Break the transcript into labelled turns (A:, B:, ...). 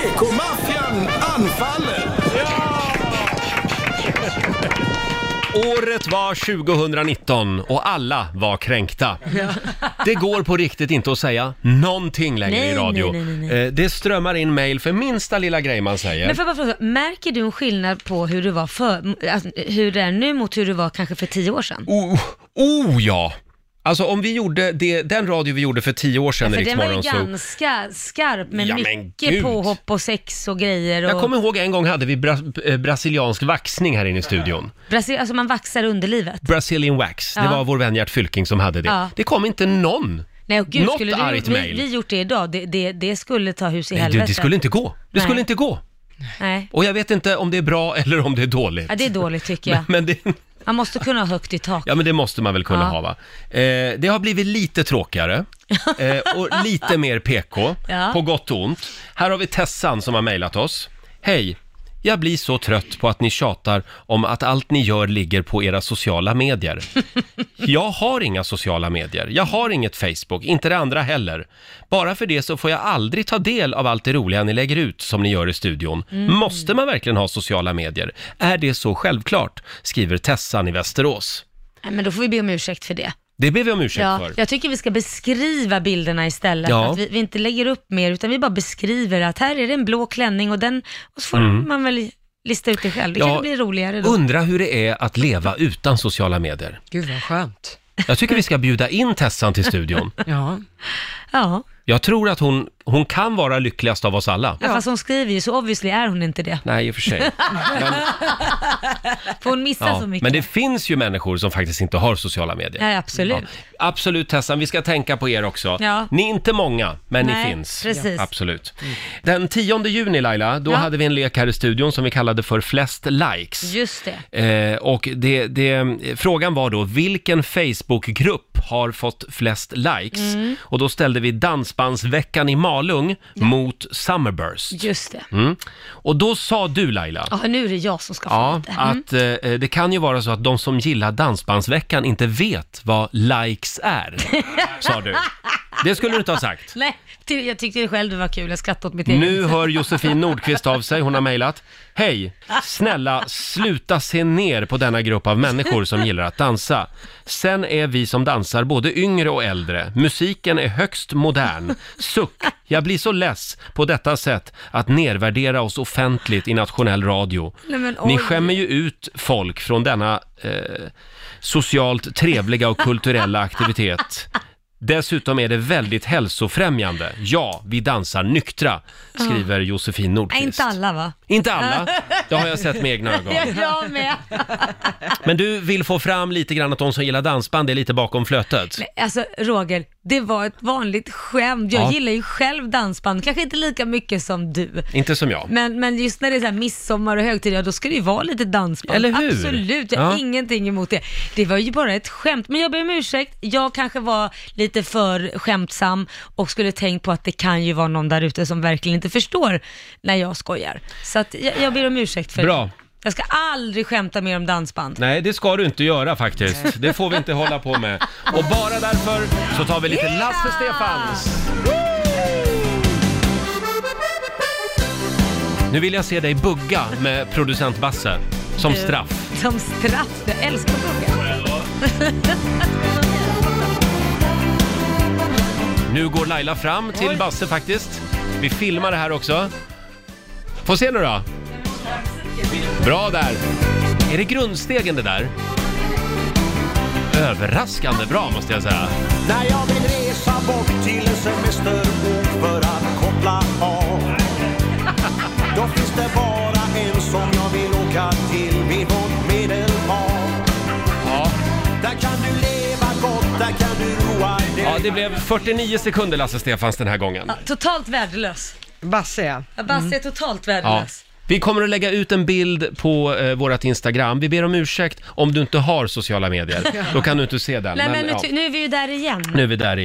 A: PK-maffian anfaller!
B: Året var 2019 och alla var kränkta. Det går på riktigt inte att säga någonting längre
C: Nej,
B: i radio.
C: nej, nej, nej, nej.
B: Eh, Det strömmar in mail för minsta lilla grej man säger.
C: Men får jag bara fråga, märker du en skillnad på hur du var för, alltså, hur det är nu mot hur du var kanske för tio år sedan?
B: Oh, oh ja! Alltså om vi gjorde det, den radio vi gjorde för tio år sedan i
C: För
B: Rix
C: den var ju
B: Morgon Zoo.
C: ganska skarp med
B: Ja, men
C: mycket
B: gud.
C: påhopp och sex och grejer. Och
B: Jag kommer ihåg en gång hade vi bra, eh, brasiliansk vaxning här inne i studion.
C: Brasil, alltså man vaxar underlivet.
B: Brazilian Wax, det
C: Ja.
B: var vår vän Gert Fylking som hade det.
C: Ja.
B: Det kom inte någon.
C: Nej, och gud,
B: Något
C: skulle du,
B: argt
C: vi,
B: mail.
C: vi gjort det idag, det, det, det skulle ta hus i
B: Nej, det,
C: helvete.
B: det skulle inte gå. Det
C: Nej.
B: skulle inte gå.
C: Nej.
B: Och jag vet inte om det är bra eller om det är dåligt.
C: Ja, det är dåligt tycker jag.
B: Men det,
C: Man måste kunna ha högt i tak.
B: ja, men det måste man väl kunna
C: Ja.
B: ha va? Eh, det har blivit lite tråkigare eh, och lite mer PK,
C: Ja.
B: på gott och ont. Här har vi Tessan som har mejlat oss. Hej! Jag blir så trött på att ni tjatar om att allt ni gör ligger på era sociala medier. Jag har inga sociala medier. Jag har inget Facebook, inte det andra heller. Bara för det så får jag aldrig ta del av allt det roliga ni lägger ut som ni gör i studion.
C: Mm.
B: Måste man verkligen ha sociala medier? Är det så självklart? Skriver Tessan i Västerås.
C: Nej, men då får vi be om ursäkt för det.
B: Det ber vi om ursäkt
C: Ja,
B: för.
C: jag tycker vi ska beskriva bilderna istället.
B: Ja.
C: Att vi, vi inte lägger upp mer, utan vi bara beskriver att här är det en blå klänning och den, och så får man väl lista ut det själv. Det
B: Mm. Ja.
C: kanske blir roligare då.
B: Undra hur det är att leva utan sociala medier.
D: Gud vad skönt.
B: Jag tycker vi ska bjuda in Tessan till studion.
D: Ja.
C: ja.
B: Jag tror att hon, hon kan vara lyckligast av oss alla.
C: ja, fast hon skriver ju, så obviously är hon inte det.
B: Nej, i och för sig.
C: För hon missar
B: Ja.
C: så mycket.
B: Men det finns ju människor som faktiskt inte har sociala medier.
C: Ja, absolut.
B: Ja, absolut Tessan, vi ska tänka på er också.
C: Ja.
B: Ni är inte många, men ni
C: Nej,
B: finns.
C: precis.
B: Absolut. Den 10 juni Laila, då
C: Ja.
B: hade vi en lek här i studion som vi kallade för Flest likes.
C: Just det.
B: Eh, och det, det, frågan var då, vilken Facebookgrupp har fått flest likes? Och då ställde vi Dansbandsveckan i Malung mot Summerburst.
C: Just det.
B: Mm. Och då sa du Laila,
C: Ja, nu är det jag som ska få
B: Ja,
C: lite.
B: att eh, det kan ju vara så att de som gillar Dansbandsveckan inte vet vad likes är, sa du. Det skulle du inte ha sagt.
C: Nej, ty- jag tyckte det själv det var kul. Jag skrattade åt mitt eget.
B: Nu hör Josefin Nordqvist av sig, hon har mejlat. Hej! Snälla, sluta se ner på denna grupp av människor som gillar att dansa. Sen är vi som dansar både yngre och äldre. Musiken är högst modern. Suck! Jag blir så less på detta sätt att nedvärdera oss offentligt i nationell radio.
C: Nej, men
B: Ni
C: oj.
B: skämmer ju ut folk från denna eh, socialt trevliga och kulturella aktivitet. Dessutom är det väldigt hälsofrämjande. Ja, vi dansar nyktra, skriver Josefin
C: Nej,
B: Nordqvist.
C: inte alla va?
B: Inte alla, det har jag sett med egna ögon.
C: Jag med.
B: Men du vill få fram lite grann att de som gillar dansband är lite bakom flötet.
C: Alltså Roger, det var ett vanligt skämt. Jag
B: Ja.
C: gillar ju själv dansband, kanske inte lika mycket som du.
B: Inte som jag.
C: Men, men just när det är så här midsommar och högtider, ja, då ska det ju vara lite dansband.
B: Eller hur?
C: Absolut, jag har
B: Ja.
C: ingenting emot det. Det var ju bara ett skämt, men jag ber om ursäkt. Jag kanske var lite för skämtsam och skulle tänkt på att det kan ju vara någon där ute som verkligen inte förstår när jag skojar. Så att jag, jag ber om ursäkt för
B: Bra.
C: det. Jag ska aldrig skämta mer om dansband.
B: Nej, det ska du inte göra faktiskt. Det får vi inte hålla på med. Och bara därför så tar vi lite Lasse Stefans. Nu vill jag se dig bugga med producent Basse som straff.
C: Som straff, jag älskar frågan.
B: Nu går Laila fram till Basse faktiskt. Vi filmar det här också. Få se nu då. Bra där. Är det grundstegen det där? Överraskande bra måste jag säga.
E: När jag vill resa bort till en semesterort för att koppla av Då finns det bara en som jag vill åka till vid vårt medelhav
B: Ja.
E: Där kan du leva gott, där kan du roa dig
B: Ja, det blev 49 sekunder Lasse Stefans den här gången.
C: Ja, Totalt värdelös.
D: Basse ja.
C: Ja, Basse är totalt
B: Mm. Ja.
C: värdelös.
B: Vi kommer att lägga ut en bild på eh, vårt Instagram. Vi ber om ursäkt om du inte har sociala medier. Då kan du inte se den.
C: Nej men,
B: men,
C: nu,
B: ja.
C: ty- nu är vi ju där igen.
B: Nu är vi där